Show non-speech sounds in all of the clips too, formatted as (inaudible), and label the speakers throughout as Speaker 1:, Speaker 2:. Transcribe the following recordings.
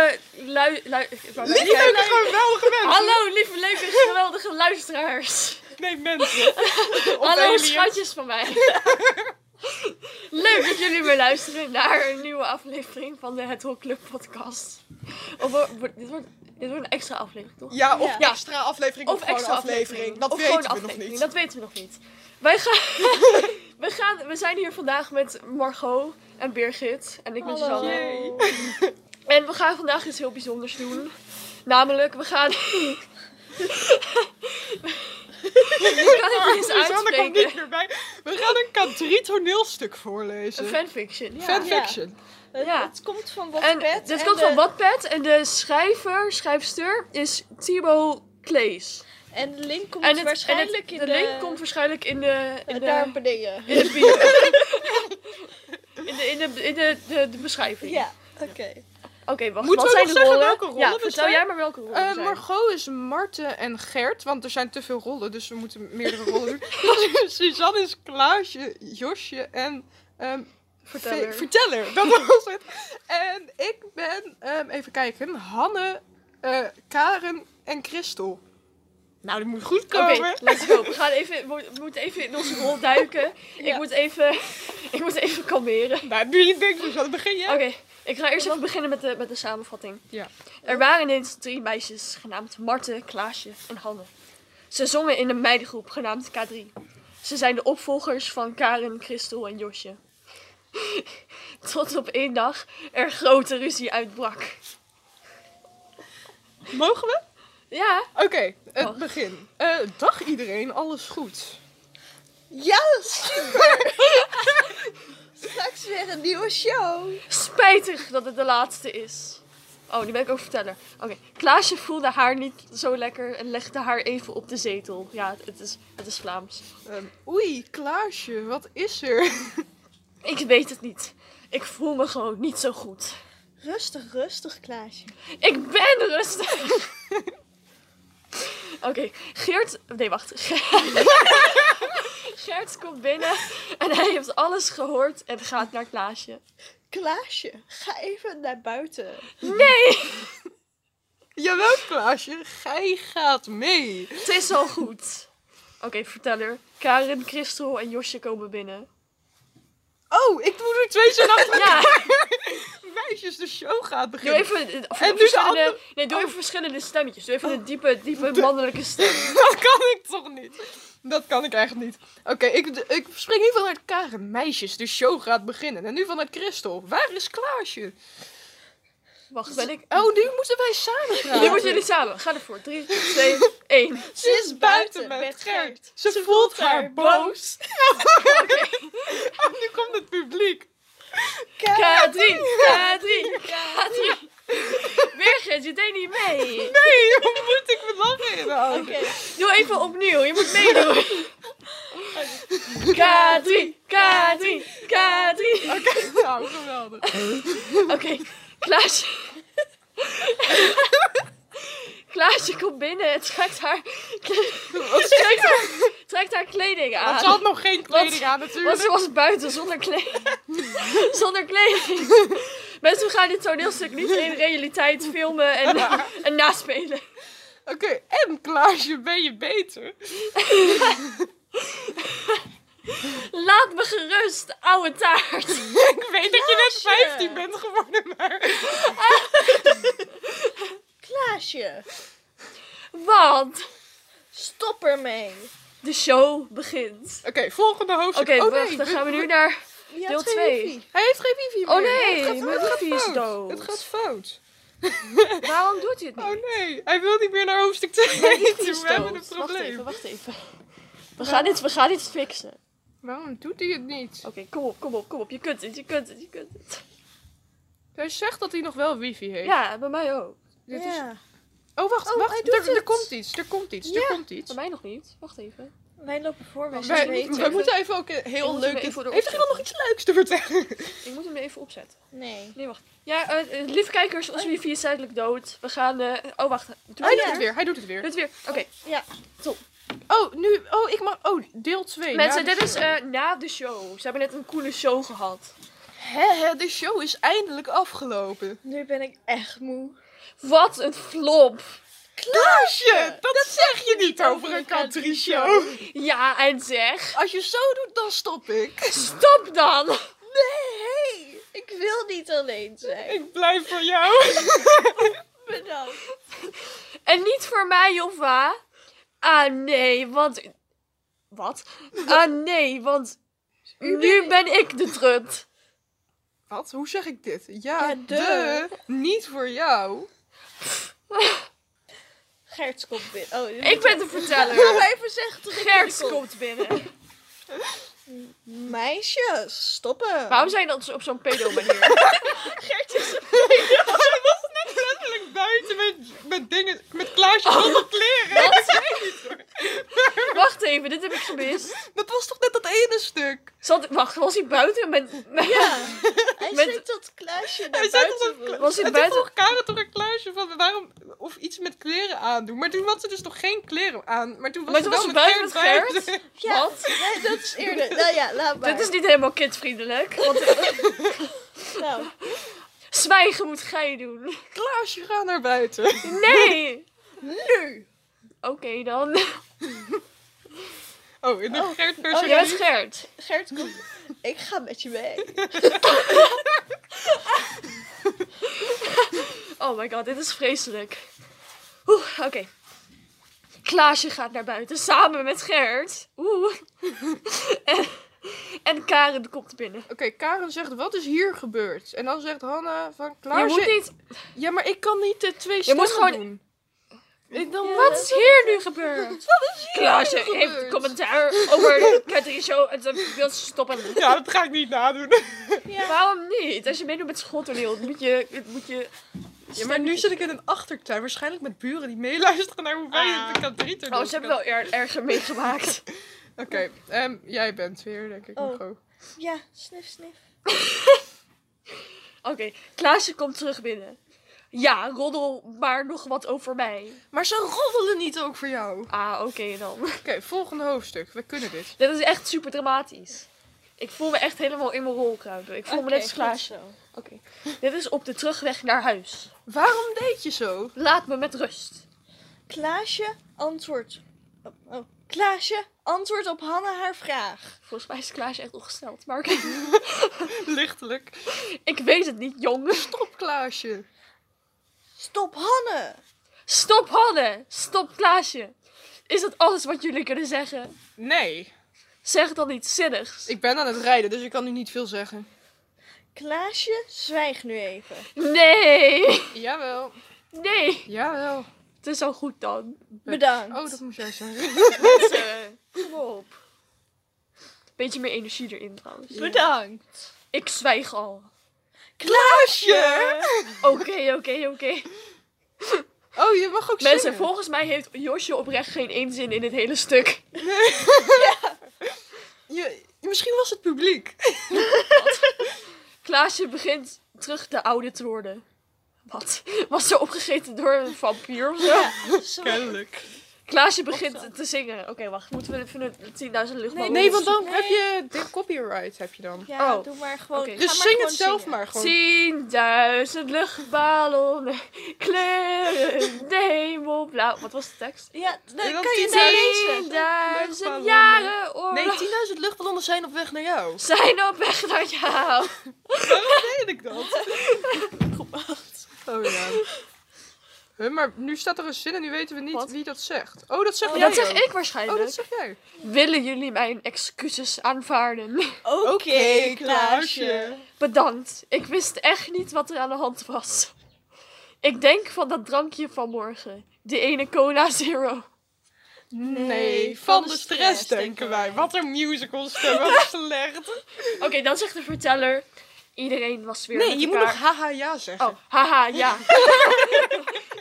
Speaker 1: lui... lui
Speaker 2: Lieve leuke, geweldige
Speaker 1: nou,
Speaker 2: mensen.
Speaker 1: Hallo, lieve, leuke, geweldige luisteraars.
Speaker 2: Nee, mensen. Op
Speaker 1: (laughs) Hallo,
Speaker 2: aliens.
Speaker 1: schatjes van mij. Leuk dat jullie weer luisteren naar een nieuwe aflevering van de Het Hol Club podcast. Of, wo- wo- dit, wordt, dit wordt een extra aflevering, toch?
Speaker 2: Ja, of
Speaker 3: Ja.
Speaker 2: ja. extra aflevering of, gewoon
Speaker 1: extra
Speaker 2: aflevering. Dat
Speaker 1: Of
Speaker 2: weten
Speaker 1: gewoon
Speaker 2: we nog
Speaker 1: aflevering,
Speaker 2: niet.
Speaker 1: Dat weten we nog niet. Wij gaan, (laughs) we gaan... We zijn hier vandaag met Margot en Birgit. En ik ben
Speaker 3: Hallo.
Speaker 1: Suzanne. En we gaan vandaag iets heel bijzonders doen. Namelijk, we gaan. (laughs) ik kan het niet eens
Speaker 2: Suzanne komt niet
Speaker 1: uitspreken.
Speaker 2: meer bij. We gaan een K3 toneelstuk voorlezen.
Speaker 1: Een fanfiction. Ja.
Speaker 2: Fanfiction.
Speaker 3: (laughs) Het,
Speaker 1: Ja.
Speaker 3: het komt van
Speaker 1: En
Speaker 3: Wattpad.
Speaker 1: dit
Speaker 3: en
Speaker 1: komt
Speaker 3: de-
Speaker 1: van Wattpad en de schrijver, schrijfster is Thibaut Klees.
Speaker 3: En de link komt
Speaker 1: En, het, en
Speaker 3: waarschijnlijk
Speaker 1: het-
Speaker 3: in
Speaker 1: de,
Speaker 3: de...
Speaker 1: link komt waarschijnlijk in de, in
Speaker 3: in
Speaker 1: de,
Speaker 3: de dingen.
Speaker 1: in de bio. In de, in de, in de, de, de beschrijving.
Speaker 3: Ja, (laughs) oké.
Speaker 1: Oké, wacht.
Speaker 2: Moeten
Speaker 1: wat
Speaker 2: we
Speaker 1: zijn
Speaker 2: nog
Speaker 1: de
Speaker 2: zeggen
Speaker 1: rollen?
Speaker 2: welke rollen
Speaker 1: ja,
Speaker 2: dat
Speaker 1: vertel
Speaker 2: zijn?
Speaker 1: jij maar welke rollen
Speaker 2: Eh,
Speaker 1: er zijn.
Speaker 2: Margot is Marten en Gert, want er zijn te veel rollen, dus we moeten (laughs) meerdere rollen doen. Suzanne is Klaasje, Josje en ehm,
Speaker 1: Verteller.
Speaker 2: Ve- verteller, dat (laughs) was het. En ik ben, ehm, even kijken, Hanne, eh, Karen en Christel. Nou, die moet goed
Speaker 1: Oké,
Speaker 2: komen.
Speaker 1: let's go. We gaan even, we moeten even in onze rol duiken. Ik,
Speaker 3: Ja.
Speaker 1: moet even, (laughs) ik moet even kalmeren.
Speaker 2: Nou, doe je ding, Suzanne, begin jij.
Speaker 1: Oké, ik ga eerst even beginnen met de, met de samenvatting.
Speaker 2: Ja.
Speaker 1: Er waren ineens drie meisjes genaamd Marten, Klaasje en Hanne. Ze zongen in een meidengroep genaamd K3. Ze zijn de opvolgers van Karen, Christel en Josje. (laughs) Tot op één dag er grote ruzie uitbrak.
Speaker 2: Mogen we?
Speaker 1: Ja,
Speaker 2: Oké, het
Speaker 1: Mag.
Speaker 2: begin. Eh, dag iedereen, alles goed.
Speaker 3: Ja, (laughs) super! Straks weer een nieuwe show.
Speaker 1: Spijtig dat het de laatste is. Oh, nu ben ik ook verteller. Oké, Klaasje voelde haar niet zo lekker en legde haar even op de zetel. Ja, het- het is, het is Vlaams.
Speaker 2: Ehm, oei, Klaasje, wat is er?
Speaker 1: Ik weet het niet. Ik voel me gewoon niet zo goed.
Speaker 3: Rustig, rustig, Klaasje.
Speaker 1: Ik ben rustig. (laughs) Oké, Geert... Nee, wacht. (laughs) Geert komt binnen en hij heeft alles gehoord en gaat naar Klaasje.
Speaker 3: Klaasje, ga even naar buiten.
Speaker 1: Nee,
Speaker 2: Jawel, Klaasje, gij gaat mee.
Speaker 1: het is al goed. Oké, verteller. Karen, Christel en Josje komen binnen.
Speaker 2: Oh, ik moet er twee zijn (laughs) achter
Speaker 1: Ja.
Speaker 2: meisjes, de show
Speaker 1: Doe
Speaker 2: gaat beginnen.
Speaker 1: even, eh,
Speaker 2: En nu de
Speaker 1: verschillende,
Speaker 2: andere-
Speaker 1: nee, doe even verschillende stemmetjes. Doe even een
Speaker 2: Oh.
Speaker 1: diepe,
Speaker 2: (laughs)
Speaker 1: diepe mannelijke stem.
Speaker 2: Dat kan ik toch niet? Dat kan ik echt niet. Oké, ik, ik spring nu vanuit Karen. Meisjes, de show gaat beginnen. En nu vanuit Christel. Waar is Klaasje?
Speaker 1: Wacht, ben ik...
Speaker 2: Oh, nu moeten wij samen praten.
Speaker 1: Nu moeten jullie samen. Ga ervoor. 3,
Speaker 2: (laughs)
Speaker 1: 2, 1.
Speaker 2: Ze is buiten met, Gert. Ze, voelt haar boos. Oh, nu komt het publiek.
Speaker 1: K3, K3, K3. Birgit, je deed niet mee.
Speaker 2: Nee, (laughs) hoe moet ik me lachen inhouden? (laughs)
Speaker 3: Oké,
Speaker 1: Doe even opnieuw, je moet meedoen. K3, K3, K3.
Speaker 2: Oké, nou, geweldig.
Speaker 1: Oké, Klaasje. Klaasje komt binnen en trekt haar, trekt haar, trekt haar kleding aan.
Speaker 2: Want ze had nog geen kleding aan
Speaker 1: Want
Speaker 2: natuurlijk.
Speaker 1: ze was buiten zonder kleding.
Speaker 2: (laughs)
Speaker 1: zonder kleding. Mensen gaan dit toneelstuk niet in realiteit filmen
Speaker 2: (laughs)
Speaker 1: en, en naspelen.
Speaker 2: Oké, en Klaasje, ben je beter?
Speaker 1: Laat me gerust, ouwe taart.
Speaker 2: Ik weet dat je net 15 bent geworden, maar...
Speaker 3: Klaasje,
Speaker 1: Want
Speaker 3: stop ermee.
Speaker 1: de show begint.
Speaker 2: Oké, volgende hoofdstuk.
Speaker 1: Oké,
Speaker 2: oh, nee,
Speaker 1: wacht, dan
Speaker 2: we-
Speaker 1: gaan we nu naar...
Speaker 3: Je had
Speaker 1: Deel
Speaker 3: geen
Speaker 1: twee.
Speaker 3: wifi.
Speaker 2: Hij heeft geen wifi meer.
Speaker 1: Oh nee,
Speaker 2: het gaat,
Speaker 1: mijn
Speaker 2: het gaat
Speaker 1: wifi is
Speaker 2: fout.
Speaker 1: dood.
Speaker 2: Het gaat fout.
Speaker 1: Waarom doet hij het
Speaker 2: Oh
Speaker 1: niet?
Speaker 2: nee, hij wil niet meer naar hoofdstuk 2 toe. (laughs) We hebben een
Speaker 1: Wacht
Speaker 2: probleem.
Speaker 1: even, wacht even. We gaan dit, we gaan dit fixen.
Speaker 2: Waarom doet hij het niet?
Speaker 1: Oké, kom op, kom op, kom op. Je kunt het, je kunt het, je kunt het.
Speaker 2: Hij zegt dat hij nog wel wifi heeft.
Speaker 1: Ja, bij mij ook.
Speaker 2: Dit is...
Speaker 3: Ja,
Speaker 2: Oh wacht,
Speaker 3: Oh, hij
Speaker 2: wacht.
Speaker 3: doet
Speaker 2: Er, er
Speaker 3: het.
Speaker 2: komt iets, er komt iets,
Speaker 3: Ja.
Speaker 2: er komt iets.
Speaker 1: Bij mij nog niet. Wacht even.
Speaker 3: wij lopen voor, wij zijn
Speaker 2: Wij,
Speaker 3: beter.
Speaker 2: wij moeten even ook een
Speaker 1: Ik
Speaker 2: heel
Speaker 1: moet
Speaker 2: leuk...
Speaker 1: hem even
Speaker 2: Heeft er iemand nog iets leuks te vertellen?
Speaker 1: Ik moet hem even opzetten.
Speaker 3: Nee.
Speaker 1: Nee, wacht. Ja, eh, eh, lieve kijkers, onze wifi is tijdelijk dood. We gaan... eh, oh, wacht. Doe
Speaker 2: Hij
Speaker 1: het
Speaker 2: doet
Speaker 3: ja.
Speaker 2: het
Speaker 1: weer.
Speaker 2: weer, hij doet het
Speaker 1: Doe
Speaker 2: weer.
Speaker 1: het weer. Oké,
Speaker 2: Oh, nu... Oh, ik mag... Oh, deel 2.
Speaker 1: mensen, dit is eh, na de show. Ze hebben net een coole show gehad.
Speaker 2: Hè, hè, de show is eindelijk afgelopen.
Speaker 3: Nu ben ik echt moe.
Speaker 1: Wat een flop.
Speaker 2: Klaasje, Oh, dat, zeg je niet over een country show.
Speaker 1: Ja, en zeg.
Speaker 2: Als je zo doet, dan stop ik.
Speaker 1: Stop dan.
Speaker 3: Nee, ik wil niet alleen zijn.
Speaker 2: (laughs) Ik blijf voor jou.
Speaker 3: Bedankt.
Speaker 1: En niet voor mij, of waar? Ah nee, want... Wat? Ah nee, want... Nu ben ik de trut.
Speaker 2: Wat? Hoe zeg ik dit? Ja,
Speaker 3: Ja,
Speaker 2: de.
Speaker 3: de.
Speaker 2: Niet voor jou.
Speaker 3: Gerts komt binnen. Oh,
Speaker 1: Ik ben de verteller.
Speaker 3: Nog even zeggen dat ik
Speaker 1: Gerts
Speaker 3: binnenkom.
Speaker 1: komt binnen.
Speaker 3: Meisjes, stoppen.
Speaker 1: Waarom zijn dat op zo'n pedo-manier?
Speaker 2: Letterlijk buiten met, met dingen, met Klaasje zonder kleren.
Speaker 1: Wacht even, dit heb ik gemist.
Speaker 2: Dat was toch net dat ene stuk?
Speaker 1: Zat, wacht, was hij buiten met... met-
Speaker 3: Ja. Hij
Speaker 1: Met-
Speaker 3: zet dat kluisje naar
Speaker 2: Hij zei
Speaker 3: buiten.
Speaker 2: toch dat
Speaker 3: wil.
Speaker 2: Klaasje...
Speaker 1: Was hij
Speaker 2: en
Speaker 1: buiten-
Speaker 2: toen vroeg Karen toch een Klaasje van waarom... Of iets met kleren aandoen. Maar toen had ze dus nog geen kleren aan. Maar toen was
Speaker 1: Maar
Speaker 2: ze
Speaker 1: toen
Speaker 2: wel
Speaker 1: was ze
Speaker 2: met
Speaker 1: buiten
Speaker 2: Gerrit
Speaker 1: met
Speaker 2: buiten.
Speaker 3: Ja,
Speaker 1: Wat?
Speaker 3: nee, dat is eerder. Nou ja, laat maar.
Speaker 1: Dit is niet helemaal kindvriendelijk. Want eh,
Speaker 3: Nou,
Speaker 1: zwijgen moet gij doen.
Speaker 2: Klaasje, ga naar buiten.
Speaker 1: Nee!
Speaker 3: nu.
Speaker 1: (laughs) Oké dan.
Speaker 2: Oh, in de
Speaker 3: Oh.
Speaker 2: Gerrit
Speaker 1: Oh,
Speaker 2: versie.
Speaker 1: jij bent Gert.
Speaker 3: Gert komt. Ik ga met je mee.
Speaker 1: Oh my god, dit is vreselijk. Oeh, oké. Klaasje gaat naar buiten samen met Gert. Oeh. en, en Karen komt binnen.
Speaker 2: Oké, Karen zegt, wat is hier gebeurd? En dan zegt Hanna van,
Speaker 1: Je
Speaker 2: Klaasje...
Speaker 1: moet niet.
Speaker 2: Ja, maar ik kan niet de twee stemmen
Speaker 1: moet gewoon-
Speaker 2: doen. Ik dan
Speaker 1: Wat is hier nu gebeurd? Klaasje
Speaker 2: gebeurd?
Speaker 1: heeft commentaar over de Catherine Show en ze wil ze stoppen.
Speaker 2: Ja, dat ga ik niet (laughs) nadoen.
Speaker 1: Waarom niet? Als je meedoet met schooltoneel, moet je, moet je
Speaker 2: Ja, maar nu zit ik in een achtertuin. Waarschijnlijk met buren die meeluisteren naar hoe wij het kan drie
Speaker 1: Oh, ze hebben wel er, erger meegemaakt.
Speaker 2: Oké, ehm, jij bent weer, denk ik,
Speaker 3: Oh.
Speaker 2: Hugo.
Speaker 3: Ja, snif, snif.
Speaker 1: Oké, Klaasje komt terug binnen. Ja, roddel maar nog wat over mij.
Speaker 2: Maar ze roddelen niet ook voor jou. Oké,
Speaker 1: Ah, oké dan.
Speaker 2: volgende hoofdstuk. We kunnen dit.
Speaker 1: Dit is echt super dramatisch. Ik voel me echt helemaal in mijn rol kruipen. Ik voel me net als
Speaker 3: goed
Speaker 1: Klaasje.
Speaker 3: zo.
Speaker 1: Oké. Dit is op de terugweg naar huis.
Speaker 2: Waarom deed je zo?
Speaker 1: Laat me met rust.
Speaker 3: Klaasje antwoord. Oh, oh. Klaasje antwoord op Hanna haar vraag.
Speaker 1: Volgens mij is Klaasje echt ongesteld. Maar oké. (laughs)
Speaker 2: Lichtelijk.
Speaker 1: ik weet het niet, jongen.
Speaker 2: Stop, Klaasje.
Speaker 3: Stop Hanne.
Speaker 1: Stop Hanne. Stop Klaasje. Is dat alles wat jullie kunnen zeggen?
Speaker 2: Nee,
Speaker 1: Zeg dan iets zinnigs.
Speaker 2: ik ben aan het rijden, dus ik kan nu niet veel zeggen.
Speaker 3: Klaasje, zwijg nu even.
Speaker 1: Nee.
Speaker 2: Jawel.
Speaker 1: Nee.
Speaker 2: Jawel.
Speaker 1: Het is al goed dan.
Speaker 3: Bedankt.
Speaker 2: Oh, dat moest jij zeggen.
Speaker 1: Mensen, kom op. Beetje meer energie erin trouwens.
Speaker 3: (laughs) Bedankt.
Speaker 1: Ik zwijg al.
Speaker 2: Klaasje!
Speaker 1: Oké, oké, oké.
Speaker 2: Oh, je mag ook
Speaker 1: Mensen,
Speaker 2: zingen.
Speaker 1: volgens mij heeft Josje oprecht geen één zin in dit hele stuk.
Speaker 2: Je, misschien was het publiek.
Speaker 1: Klaasje begint terug de oude te worden. Wat? Was ze opgegeten door een vampier of zo?
Speaker 2: Kennelijk.
Speaker 1: Klaasje begint te zingen. Oké, wacht. Moeten we even een 10.000 luchtballon...
Speaker 2: Nee, want dan
Speaker 3: Nee.
Speaker 2: heb je de copyright heb je dan.
Speaker 3: Ja,
Speaker 1: Oh.
Speaker 3: doe maar gewoon.
Speaker 1: Oké.
Speaker 3: ga
Speaker 2: Dus
Speaker 3: maar
Speaker 2: zing
Speaker 3: gewoon
Speaker 2: het zelf
Speaker 3: zingen.
Speaker 2: maar gewoon.
Speaker 1: 10.000 luchtballonnen, kleuren, de hemel blauw. Wat was de tekst?
Speaker 3: Ja,
Speaker 2: En dan
Speaker 3: dan kan je
Speaker 2: 10.000.
Speaker 3: daar lezen.
Speaker 1: 10.000
Speaker 2: Luchtballonnen.
Speaker 1: jaren oorlog.
Speaker 2: Nee, 10.000 luchtballonnen zijn op weg naar jou.
Speaker 1: zijn op weg naar jou.
Speaker 2: Waarom deed ik dat? (laughs) Oh ja. Huh, maar nu staat er een zin en nu weten we niet
Speaker 1: Wat?
Speaker 2: wie dat zegt. Oh, dat zeg
Speaker 3: Oh,
Speaker 2: jij
Speaker 1: dat zeg
Speaker 2: ook.
Speaker 1: ik
Speaker 2: Oh,
Speaker 1: waarschijnlijk.
Speaker 2: dat zeg jij.
Speaker 1: dus Willen jullie mijn excuses aanvaarden? (laughs)
Speaker 3: (laughs) Oké,
Speaker 2: Oké,
Speaker 3: Klaasje.
Speaker 1: Bedankt. Ik wist echt niet wat er aan de hand was. Ik denk van dat drankje van morgen. Die ene cola zero.
Speaker 2: Nee, van de stress denken wij. Wat een musical stem, wat (laughs) slecht.
Speaker 1: Oké, dan zegt de verteller. Iedereen was weer
Speaker 2: Nee,
Speaker 1: met
Speaker 2: je moet
Speaker 1: elkaar.
Speaker 2: nog haha ja zeggen.
Speaker 1: Oh, haha, ja. (laughs)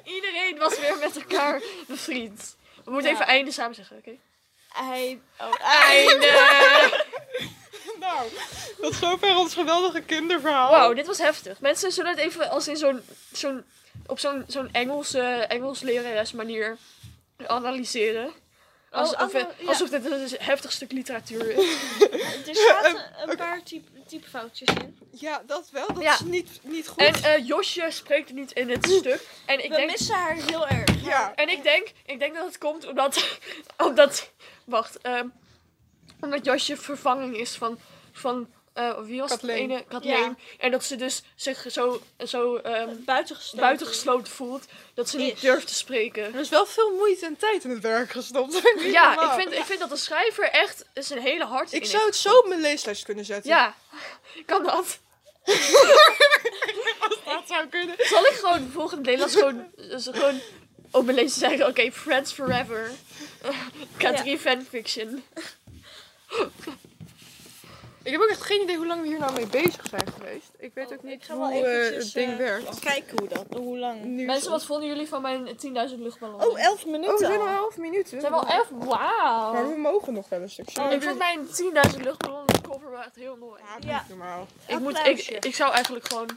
Speaker 1: Iedereen was weer met elkaar bevriend. We moeten
Speaker 3: Ja.
Speaker 1: even einde samen zeggen, oké?
Speaker 3: Hij... Oh,
Speaker 1: Einde!
Speaker 2: Nou, tot zover ons geweldige kinderverhaal.
Speaker 1: (laughs) Wauw, dit was heftig. Mensen zullen het even als in zo'n... zo'n op zo'n zo'n Engelse Engels lerares manier analyseren. Oké, Alsof,
Speaker 3: Anne-
Speaker 1: het-
Speaker 3: Oh, ja.
Speaker 1: alsof dit een heftig stuk literatuur is.
Speaker 3: Er zaten een paar type, typefoutjes in.
Speaker 2: Ja, dat wel. Dat
Speaker 1: Ja.
Speaker 2: is niet, niet goed.
Speaker 1: en eh, Josje spreekt niet in het stuk. En ik
Speaker 3: We
Speaker 1: denk,
Speaker 3: missen haar heel erg.
Speaker 2: ja.
Speaker 1: en ik denk, ik denk dat het komt omdat. (laughs) omdat wacht. ehm, omdat Josje vervanging is van. van eh, wie was
Speaker 2: Kathleen.
Speaker 1: het ene? Kathleen.
Speaker 3: Ja.
Speaker 1: En dat ze dus zich zo, zo ehm
Speaker 3: Buitengestoten.
Speaker 1: buitengesloten voelt. Dat ze niet
Speaker 3: Is.
Speaker 1: durft te spreken.
Speaker 2: Er is wel veel moeite en tijd in het werk gestopt. (laughs) Niet
Speaker 1: Ja,
Speaker 2: normaal.
Speaker 1: ik vind, ik vind dat de schrijver echt zijn hele hart in
Speaker 2: Ik
Speaker 1: heeft.
Speaker 2: zou het zo op mijn leeslijst kunnen zetten.
Speaker 1: Ja, (laughs) kan dat?
Speaker 2: dat zou kunnen.
Speaker 1: Zal ik gewoon volgend Nederlands gewoon, dus gewoon op mijn lezen zeggen, oké, Friends Forever. (laughs) K3 fanfiction.
Speaker 2: Ik heb ook echt geen idee hoe lang we hier nou mee bezig zijn geweest. Ik weet ook
Speaker 3: Oh, ik
Speaker 2: niet
Speaker 3: ga
Speaker 2: hoe
Speaker 3: wel
Speaker 2: eh,
Speaker 3: eventjes,
Speaker 2: het ding
Speaker 3: eh,
Speaker 2: werkt.
Speaker 3: Kijken hoe dat, hoe lang.
Speaker 2: Nu
Speaker 1: Mensen, wat vonden jullie van mijn 10.000 luchtballonnen?
Speaker 3: Oh, 11
Speaker 2: Oh, we
Speaker 3: minuten.
Speaker 2: zijn al
Speaker 3: al.
Speaker 2: elf minuten.
Speaker 1: Het zijn wel Oh, 11?
Speaker 2: Maar
Speaker 1: Wauw.
Speaker 2: we mogen nog wel een stukje.
Speaker 1: Ik vond mijn 10.000 luchtballonnen cover wel echt heel mooi.
Speaker 2: Ja,
Speaker 3: Ja.
Speaker 2: niet normaal.
Speaker 1: Ik, moet, ik,
Speaker 3: Applausje.
Speaker 1: ik zou eigenlijk gewoon...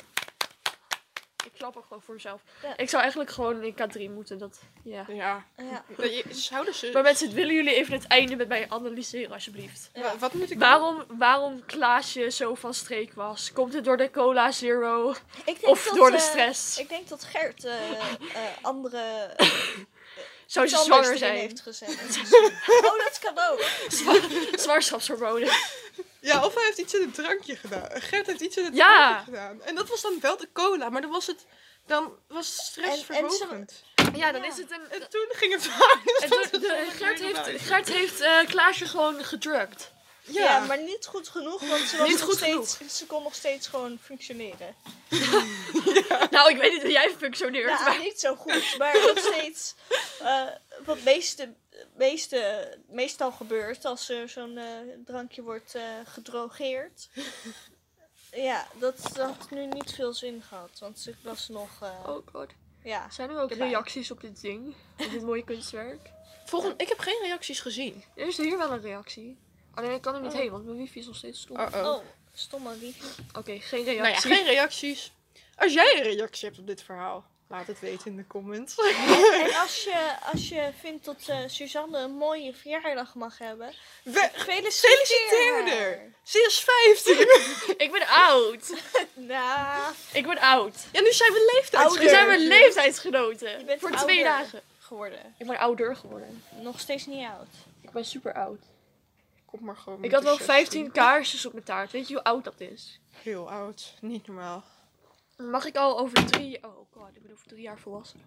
Speaker 1: Ik klap er gewoon voor mezelf.
Speaker 3: Ja.
Speaker 1: Ik zou eigenlijk gewoon in K3 moeten. Dat, ja.
Speaker 2: Ja.
Speaker 3: Ja.
Speaker 2: Je- Zouden ze...
Speaker 1: Maar mensen, willen jullie even het einde met mij analyseren, alsjeblieft?
Speaker 2: Wa- Wat moet ik
Speaker 1: Waarom, waarom Klaasje zo van streek was? Komt het door de cola zero?
Speaker 3: Ik denk
Speaker 1: Of
Speaker 3: dat,
Speaker 1: door de
Speaker 3: eh,
Speaker 1: stress?
Speaker 3: ik denk dat Gert eh, eh, andere
Speaker 1: Zou ze
Speaker 3: iets anders
Speaker 1: zwanger
Speaker 3: erin
Speaker 1: zijn?
Speaker 3: heeft gezet. (laughs) oh, dat kan ook.
Speaker 1: (laughs) Zwangerschapshormonen.
Speaker 2: Ja, of hij heeft iets in het drankje gedaan. Gert heeft iets in het
Speaker 1: Ja.
Speaker 2: drankje gedaan. En dat was dan wel de cola, maar dan was het... Dan was het
Speaker 3: En- en
Speaker 2: stressverhogend.
Speaker 1: Ja, dan
Speaker 3: Ja.
Speaker 1: is het een...
Speaker 2: En, toen ging het waar. (laughs)
Speaker 1: En toen, de- Gert heeft, Gert heeft eh, Klaasje gewoon gedrukt.
Speaker 3: Ja.
Speaker 2: Ja,
Speaker 3: maar niet goed genoeg, want ze, was
Speaker 1: Niet
Speaker 3: nog
Speaker 1: goed
Speaker 3: steeds, ze kon nog steeds gewoon functioneren.
Speaker 1: (laughs) Nou, ik weet niet hoe jij functioneert,
Speaker 3: Ja,
Speaker 1: maar...
Speaker 3: niet zo goed, maar nog steeds eh, wat meeste, meeste, meestal gebeurt als er zo'n eh, drankje wordt eh, gedrogeerd. Ja, dat, dat had nu niet veel zin gehad, want ze was nog... eh,
Speaker 1: Oh god.
Speaker 3: Ja,
Speaker 1: Zijn er ook
Speaker 3: Erbij.
Speaker 1: reacties op dit ding? Op dit mooie kunstwerk?
Speaker 2: Volgende, ik heb geen reacties gezien.
Speaker 1: Er is hier wel een reactie. Alleen ik kan er niet
Speaker 3: Oh.
Speaker 1: heen, want mijn wifi is nog steeds stom.
Speaker 2: Uh-oh.
Speaker 3: oh, stomme liefje.
Speaker 1: Oké, geen
Speaker 2: nou ja,
Speaker 1: reactie.
Speaker 2: geen reacties. Als jij een reactie hebt op dit verhaal, laat het weten in de comments.
Speaker 3: En als je, als je vindt dat eh, Suzanne een mooie verjaardag mag hebben,
Speaker 2: We-
Speaker 3: feliciteer
Speaker 2: Feliciteer haar!
Speaker 3: haar.
Speaker 2: Ze is
Speaker 1: (laughs)
Speaker 2: 15!
Speaker 1: (laughs) Ik ben oud.
Speaker 3: Nou,
Speaker 1: Ik ben oud. (laughs)
Speaker 2: Ja, nu zijn we leeftijdsgenoten.
Speaker 1: Nu zijn we
Speaker 3: Jeugd.
Speaker 1: leeftijdsgenoten.
Speaker 3: Je bent
Speaker 1: voor twee
Speaker 3: ouder.
Speaker 1: dagen.
Speaker 3: geworden.
Speaker 1: Ik ben ouder geworden.
Speaker 3: Nog steeds niet oud.
Speaker 1: Ik ben super oud.
Speaker 2: Kom maar gewoon.
Speaker 1: Ik
Speaker 2: met
Speaker 1: had
Speaker 2: de
Speaker 1: wel
Speaker 2: chef.
Speaker 1: 15 kaarsjes op mijn taart. Weet je hoe oud dat is?
Speaker 2: Heel oud. Niet normaal.
Speaker 1: Mag ik al over drie... Oh god, ik ben over drie jaar volwassen.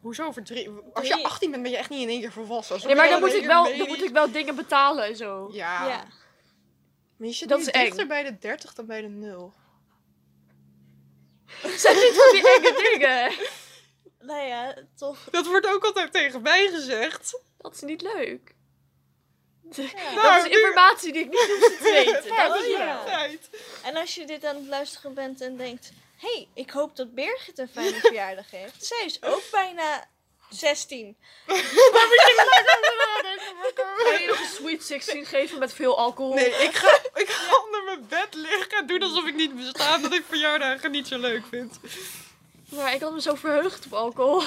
Speaker 2: Hoezo over drie? Als je 18 bent, ben je echt niet in één keer volwassen. Alsof
Speaker 1: Nee, maar
Speaker 2: je
Speaker 1: dan
Speaker 2: al
Speaker 1: moet,
Speaker 2: in
Speaker 1: ik
Speaker 2: één
Speaker 1: wel,
Speaker 2: keer
Speaker 1: dan
Speaker 2: baby-
Speaker 1: moet ik wel dingen betalen en zo.
Speaker 2: Ja.
Speaker 3: Ja.
Speaker 2: Maar je zit
Speaker 1: Dat
Speaker 2: nu
Speaker 1: is eng.
Speaker 2: dichter bij de 30 dan bij de 0.
Speaker 1: (laughs) Zeg niet van die enge dingen.
Speaker 3: Nou ja, toch.
Speaker 2: Dat wordt ook altijd tegen mij gezegd.
Speaker 1: Dat is niet leuk. dat
Speaker 2: Nou,
Speaker 1: is
Speaker 2: nu-
Speaker 1: informatie die ik niet hoef
Speaker 2: (laughs)
Speaker 1: te weten.
Speaker 3: Ja,
Speaker 1: Dank je
Speaker 3: ja.
Speaker 1: wel.
Speaker 2: Tijd.
Speaker 3: En als je dit aan het luisteren bent en denkt: hé, hey, ik hoop dat Birgit een fijne verjaardag heeft. Zij is ook bijna 16.
Speaker 2: (laughs)
Speaker 1: Ga je nog een sweet 16 geven met veel alcohol?
Speaker 2: Nee, ik ga, ik ga onder mijn bed liggen en doen alsof ik niet besta. Dat ik verjaardagen niet zo leuk vind.
Speaker 1: Maar ik had me zo verheugd op
Speaker 2: (laughs)
Speaker 1: alcohol.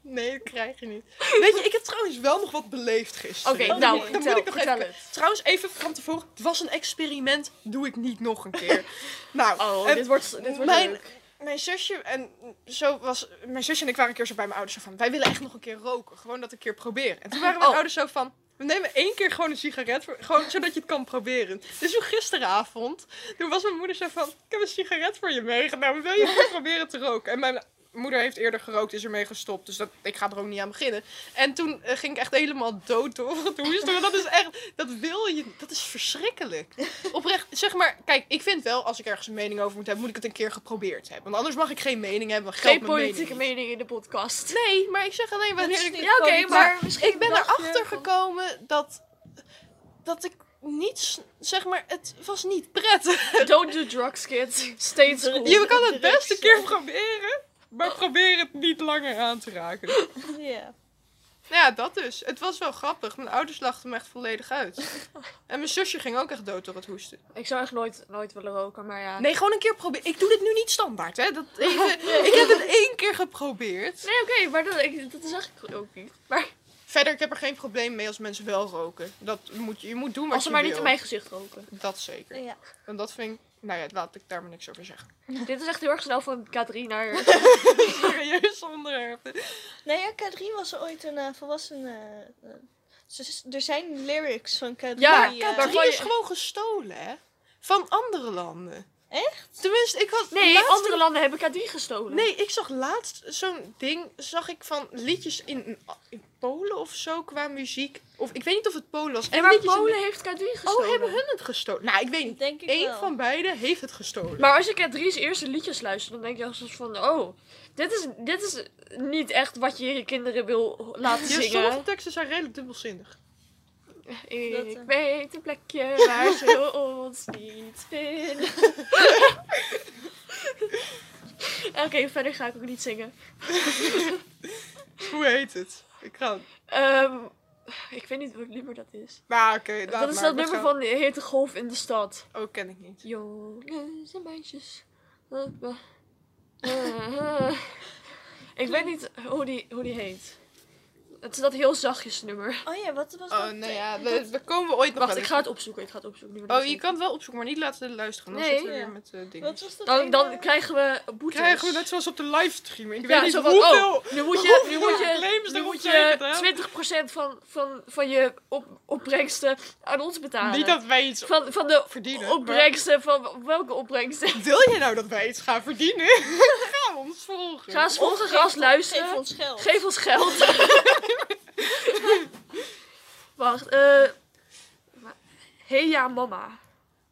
Speaker 2: Nee, dat krijg je niet. (laughs) Weet je, ik heb trouwens wel nog wat beleefd gisteren.
Speaker 1: Oké,
Speaker 3: Oh,
Speaker 1: nou,
Speaker 3: nee.
Speaker 2: Dan
Speaker 1: vertel,
Speaker 2: moet ik nog
Speaker 1: vertel
Speaker 2: even-
Speaker 1: het.
Speaker 2: Trouwens, even van tevoren. Het was een experiment. Doe ik niet nog een
Speaker 1: (laughs)
Speaker 2: keer. Nou,
Speaker 1: Oh,
Speaker 2: eh,
Speaker 1: dit wordt, dit wordt
Speaker 2: mijn-
Speaker 1: leuk.
Speaker 2: mijn zusje en zo was mijn zusje en ik waren een keer zo bij mijn ouders zo van wij willen echt nog een keer roken gewoon dat een keer proberen en toen waren mijn
Speaker 1: Oh.
Speaker 2: ouders zo van we nemen één keer gewoon een sigaret voor, gewoon zodat je het kan proberen dus toen gisteravond toen was mijn moeder zo van ik heb een sigaret voor je meegenomen wil je even proberen te roken en mijn moeder heeft eerder gerookt is ermee gestopt dus dat ik ga er ook niet aan beginnen en toen eh, ging ik echt helemaal dood door het hoes want dat is echt dat wil je dat is verschrikkelijk Oprecht, zeg maar, kijk, ik vind wel, als ik ergens een mening over moet hebben, moet ik het een keer geprobeerd hebben. Want anders mag ik geen mening hebben. want geldt
Speaker 1: Geen
Speaker 2: mijn
Speaker 1: politieke
Speaker 2: mening.
Speaker 1: mening, in de podcast.
Speaker 2: (laughs) niet. Nee, maar ik zeg alleen wanneer ik.
Speaker 1: Ja, oké, maar
Speaker 2: Ik ben
Speaker 1: dacht je van-
Speaker 2: erachter gekomen dat. dat ik niets. zeg maar, het was niet prettig.
Speaker 1: (laughs) Don't do drugs, kids. Stay in school.
Speaker 2: Je kan het
Speaker 3: Drugs,
Speaker 2: best een keer proberen, maar probeer het niet langer aan te raken. Nou
Speaker 3: Ja.
Speaker 2: ja, dat dus. Het was wel grappig. Mijn ouders lachten me echt volledig (laughs) uit. En mijn zusje ging ook echt dood door het hoesten.
Speaker 1: Ik zou echt nooit, nooit willen roken, maar ja.
Speaker 2: Ah. Nee, gewoon een keer proberen. Ik doe dit nu niet standaard, hè. (laughs) Dat even- Ik heb het één keer geprobeerd.
Speaker 1: Nee, oké, maar dat, ik- dat is eigenlijk ook niet. Maar
Speaker 2: Verder, ik heb er geen probleem mee als mensen wel roken. Dat moet, je moet doen wat
Speaker 1: Als
Speaker 2: je
Speaker 1: ze maar
Speaker 2: wil.
Speaker 1: niet in mijn gezicht roken.
Speaker 2: Dat zeker.
Speaker 3: Ja.
Speaker 2: En dat vind ik... Nou ja, laat ik daar maar niks over zeggen.
Speaker 1: Dit is echt heel erg snel van K3 naar...
Speaker 2: (laughs) Serieus onderwerp.
Speaker 3: Nee, Nou ja, K3 was ooit een eh, volwassen... eh, eh, ze- er zijn lyrics van K3.
Speaker 1: Ja,
Speaker 3: eh,
Speaker 1: K3.
Speaker 2: Drie
Speaker 1: Waarvan
Speaker 2: is
Speaker 1: je-
Speaker 2: gewoon gestolen, hè? Van andere landen.
Speaker 3: Echt?
Speaker 2: Tenminste, ik had
Speaker 1: Nee,
Speaker 2: laatst-
Speaker 1: andere landen hebben K3 gestolen.
Speaker 2: Nee, ik zag laatst zo'n ding, zag ik van liedjes in, in Polen of zo qua muziek. Of ik weet niet of het Polen was.
Speaker 1: En maar
Speaker 2: liedjes in-
Speaker 1: Polen heeft K3 gestolen.
Speaker 2: Oh, hebben hun het gestolen? Nou, ik weet niet.
Speaker 3: Denk ik
Speaker 2: Eén
Speaker 3: wel.
Speaker 2: van beiden heeft het gestolen.
Speaker 1: Maar als je K3's eerste liedjes luistert, dan denk je als van... Oh, dit is, dit is niet echt wat je je kinderen wil laten
Speaker 2: Ja,
Speaker 1: zingen.
Speaker 2: sommige teksten zijn redelijk dubbelzinnig.
Speaker 1: Ik
Speaker 3: Dat, eh.
Speaker 1: weet een plekje waar
Speaker 2: (laughs)
Speaker 1: ze ons niet vinden. Oké, verder ga ik ook niet zingen.
Speaker 2: Hoe heet het? Ik ga...
Speaker 1: Ehm, ik weet niet welk nummer dat is.
Speaker 2: Maar oké, laat
Speaker 1: dat is
Speaker 2: maar,
Speaker 1: dat
Speaker 2: we
Speaker 1: nummer
Speaker 2: gaan-
Speaker 1: van Hete Golf in de Stad.
Speaker 2: Oh, ken ik niet.
Speaker 1: Jongens en meisjes. Eh, eh, eh. (laughs) ik weet niet hoe die, hoe die heet. Het is dat heel zachtjes nummer.
Speaker 3: Oh ja, wat was
Speaker 2: Oh,
Speaker 3: dat?
Speaker 2: nou ja, we- we komen ooit nog
Speaker 1: Wacht,
Speaker 2: wel
Speaker 1: ik ga het opzoeken. Ik ga het opzoeken. nu we dat
Speaker 2: Oh, je
Speaker 1: weten.
Speaker 2: kan het wel opzoeken, maar niet laten luisteren. Dan
Speaker 1: Nee.
Speaker 2: zitten we
Speaker 3: Ja.
Speaker 2: weer met eh, dingen.
Speaker 3: Wat was dat?
Speaker 1: Dan,
Speaker 3: ene-
Speaker 1: dan krijgen we boetes.
Speaker 2: Krijgen we net zoals op de livestream. Ik
Speaker 1: Ja,
Speaker 2: weet
Speaker 1: zo
Speaker 2: niet
Speaker 1: van,
Speaker 2: hoeveel...
Speaker 1: oh, nu moet je, nu
Speaker 2: hoeveel
Speaker 1: moet je,
Speaker 2: claims
Speaker 1: nu
Speaker 2: erop
Speaker 1: moet
Speaker 2: zijn
Speaker 1: je
Speaker 2: gedaan.
Speaker 1: 20% van, van, van je op, opbrengsten aan ons betalen.
Speaker 2: Niet dat wij iets
Speaker 1: van, van de
Speaker 2: verdienen. maar-
Speaker 1: opbrengsten, van welke opbrengsten?
Speaker 2: Wil je nou dat wij iets gaan verdienen? (laughs) Ga ons volgen.
Speaker 1: Ga eens volgen,
Speaker 3: Geef
Speaker 1: ga eens
Speaker 3: ons-
Speaker 1: luisteren.
Speaker 3: Geef ons geld.
Speaker 1: Geef ons geld. (laughs) Wacht, eh... Hey ja mama.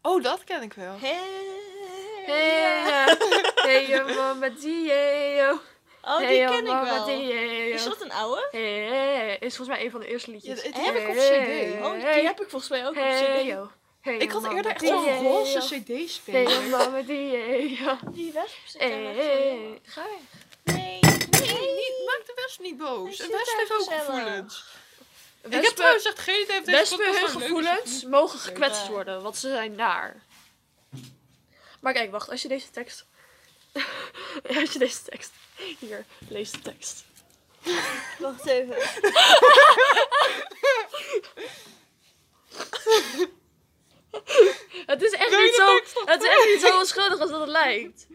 Speaker 2: Oh, dat ken ik wel.
Speaker 3: Hey.
Speaker 1: Hey ja. Hey ja mama die hey yo.
Speaker 3: Oh, die
Speaker 1: Hey, ja,
Speaker 3: ken ik
Speaker 1: mama,
Speaker 3: wel.
Speaker 1: die, hey, yo.
Speaker 3: Is dat een oude?
Speaker 1: Hey, is volgens mij een van de eerste liedjes.
Speaker 2: Ja, het-
Speaker 3: Die heb ik op
Speaker 1: Hey.
Speaker 3: cd. Oh, die heb ik volgens mij ook
Speaker 1: Hey,
Speaker 3: op
Speaker 1: yo. Hey,
Speaker 2: Ik had
Speaker 1: mama,
Speaker 2: eerder echt
Speaker 1: die,
Speaker 2: zo'n
Speaker 1: hey,
Speaker 2: roze
Speaker 1: yo. Hey,
Speaker 2: cd-speler.
Speaker 1: yo, mama, die, hey, yo.
Speaker 3: cd. Die was op cd.
Speaker 1: Hey,
Speaker 3: Hey.
Speaker 1: Ga weg.
Speaker 3: Nee,
Speaker 2: Nee,
Speaker 3: nee.
Speaker 2: niet, maak de West niet boos.
Speaker 3: Hij
Speaker 2: En
Speaker 3: zit
Speaker 2: West
Speaker 3: daar
Speaker 2: heeft ook
Speaker 3: gezellig.
Speaker 2: gevoelens. ik heb
Speaker 1: Wespen,
Speaker 2: trouwens echt geen idee of deze
Speaker 1: wespen hun
Speaker 2: podcast wel leuk is.
Speaker 1: gevoelens mogen gekwetst
Speaker 3: Ja.
Speaker 1: worden, want ze zijn naar. Maar kijk, wacht. Als je deze tekst... (laughs) als je deze tekst... Hier, lees de tekst.
Speaker 3: Wacht even.
Speaker 1: Het is echt
Speaker 2: Wil je
Speaker 1: niet
Speaker 2: de
Speaker 1: zo...
Speaker 2: tekst nog
Speaker 1: Het is echt niet zo onschuldig als dat het lijkt.